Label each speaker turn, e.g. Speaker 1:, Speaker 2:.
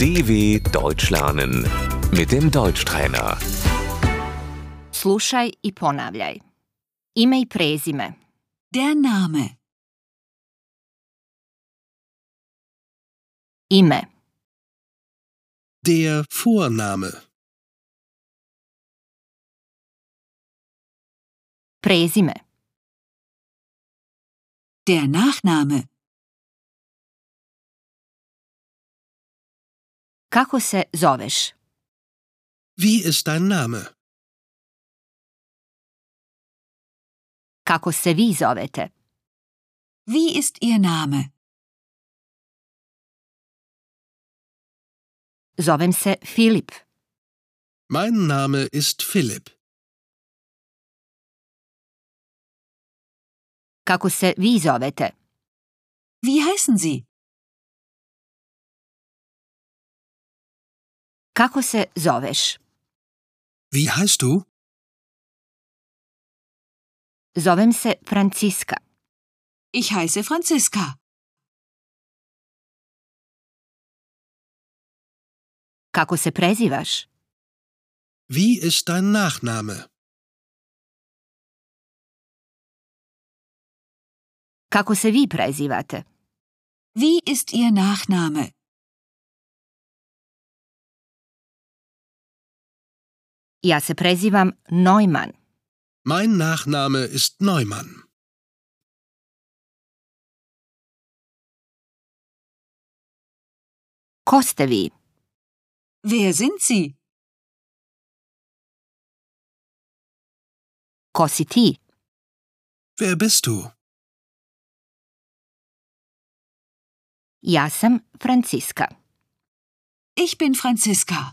Speaker 1: DW Deutsch lernen mit dem Deutschtrainer.
Speaker 2: Slušaj i ponavljaj. Ime i prezime.
Speaker 3: Der Name.
Speaker 2: Ime,
Speaker 4: Der Vorname.
Speaker 2: prezime,
Speaker 3: Der Nachname.
Speaker 2: kako se zoveš,
Speaker 4: Wie ist dein Name?
Speaker 2: kako se vi zovete,
Speaker 3: Wie ist Ihr Name?
Speaker 2: zovem se Filip,
Speaker 4: Mein Name ist Philipp.
Speaker 2: kako se vi zovete,
Speaker 3: Wie heißen Sie?
Speaker 2: kako se zoveš,
Speaker 4: Wie heißt du?
Speaker 2: zovem se Franciska,
Speaker 3: Ich heiße Franziska.
Speaker 2: kako se prezivaš,
Speaker 4: Wie ist dein Nachname?
Speaker 2: kako se vi prezivate,
Speaker 3: Wie ist Ihr Nachname?
Speaker 2: ja se prezivam Neumann,
Speaker 4: Mein Nachname ist Neumann.
Speaker 2: ko ste vi,
Speaker 3: Wer sind Sie?
Speaker 2: ko si ti,
Speaker 4: Wer bist du?
Speaker 2: ja sam Franciska.
Speaker 3: Ich bin Franziska.